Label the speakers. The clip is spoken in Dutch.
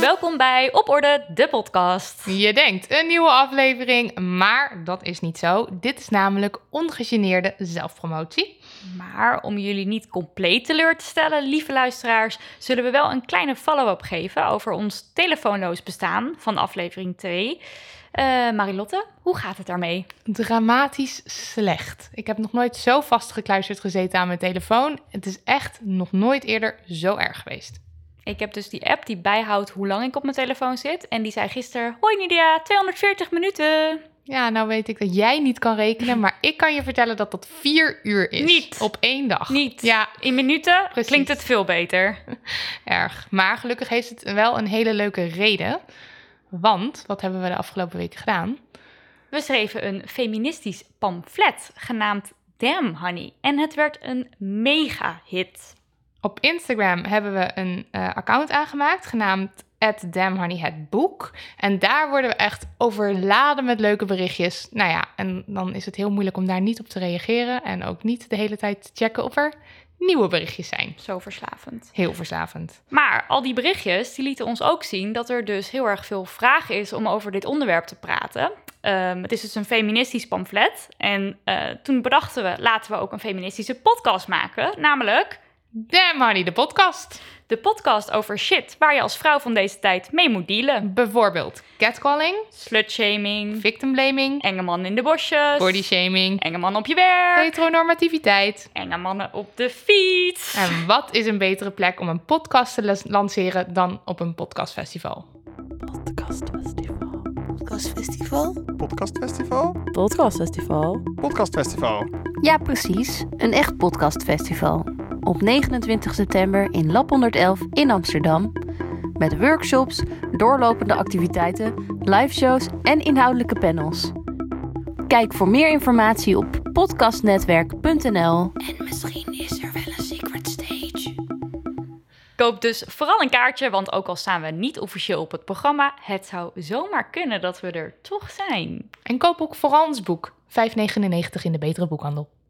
Speaker 1: welkom bij Op Orde, de podcast.
Speaker 2: Je denkt een nieuwe aflevering, maar dat is niet zo. Dit is namelijk ongegeneerde zelfpromotie.
Speaker 1: Maar om jullie niet compleet teleur te stellen, lieve luisteraars, zullen we wel een kleine follow-up geven over ons telefoonloos bestaan van aflevering 2. Eh Marilotte, hoe gaat het daarmee?
Speaker 2: Dramatisch slecht. Ik heb nog nooit zo vastgekluisterd gezeten aan mijn telefoon. Het is echt nog nooit eerder zo erg geweest.
Speaker 1: Ik heb dus die app die bijhoudt hoe lang ik op mijn telefoon zit. En die zei gisteren: Hoi Nidia, 240 minuten.
Speaker 2: Ja, nou weet ik dat jij niet kan rekenen, maar ik kan je vertellen dat dat vier uur is.
Speaker 1: Niet.
Speaker 2: Op één dag.
Speaker 1: Niet.
Speaker 2: Ja,
Speaker 1: In minuten
Speaker 2: Precies.
Speaker 1: klinkt het veel beter.
Speaker 2: erg. Maar gelukkig heeft het wel een hele leuke reden. Want, wat hebben we de afgelopen week gedaan?
Speaker 1: We schreven een feministisch pamflet genaamd Damn Honey. En het werd een mega hit.
Speaker 2: Op Instagram hebben we een eh, account aangemaakt genaamd @damhoneyhetboek en daar worden we echt overladen met leuke berichtjes. Nou ja, en dan is het heel moeilijk om daar niet op te reageren en ook niet de hele tijd te checken of er nieuwe berichtjes zijn.
Speaker 1: Zo verslavend.
Speaker 2: Heel verslavend.
Speaker 1: Maar al die berichtjes die lieten ons ook zien dat er dus heel erg veel vraag is om over dit onderwerp te praten. Ehm, het is dus een feministisch pamflet. En eh, toen bedachten we, laten we ook een feministische podcast maken. Namelijk
Speaker 2: Damn Honey, de podcast.
Speaker 1: de podcast over shit waar je als vrouw van deze tijd mee moet dealen.
Speaker 2: Bijvoorbeeld catcalling,
Speaker 1: Slutshaming,
Speaker 2: victim blaming,
Speaker 1: enge man in de bosjes,
Speaker 2: body shaming,
Speaker 1: enge man op je werk,
Speaker 2: heteronormativiteit.
Speaker 1: enge mannen op de fiets.
Speaker 2: En wat is een betere plek om een podcast te las- lanceren dan op een podcastfestival?
Speaker 3: Podcastfestival.
Speaker 4: Podcastfestival?
Speaker 5: Podcastfestival?
Speaker 3: Podcastfestival.
Speaker 5: Podcastfestival.
Speaker 4: Ja, precies. Een echt podcastfestival. Op 29 september in Lab 111 in Amsterdam. Met workshops, doorlopende activiteiten, liveshows en inhoudelijke panels. Kijk voor meer informatie op podcastnetwerk.nl. En misschien is er wel een secret stage.
Speaker 1: Koop dus vooral een kaartje, want ook al staan we niet officieel op het programma, het zou zomaar kunnen dat we er toch zijn.
Speaker 2: En koop ook vooral ons boek. 5,99 in de betere boekhandel.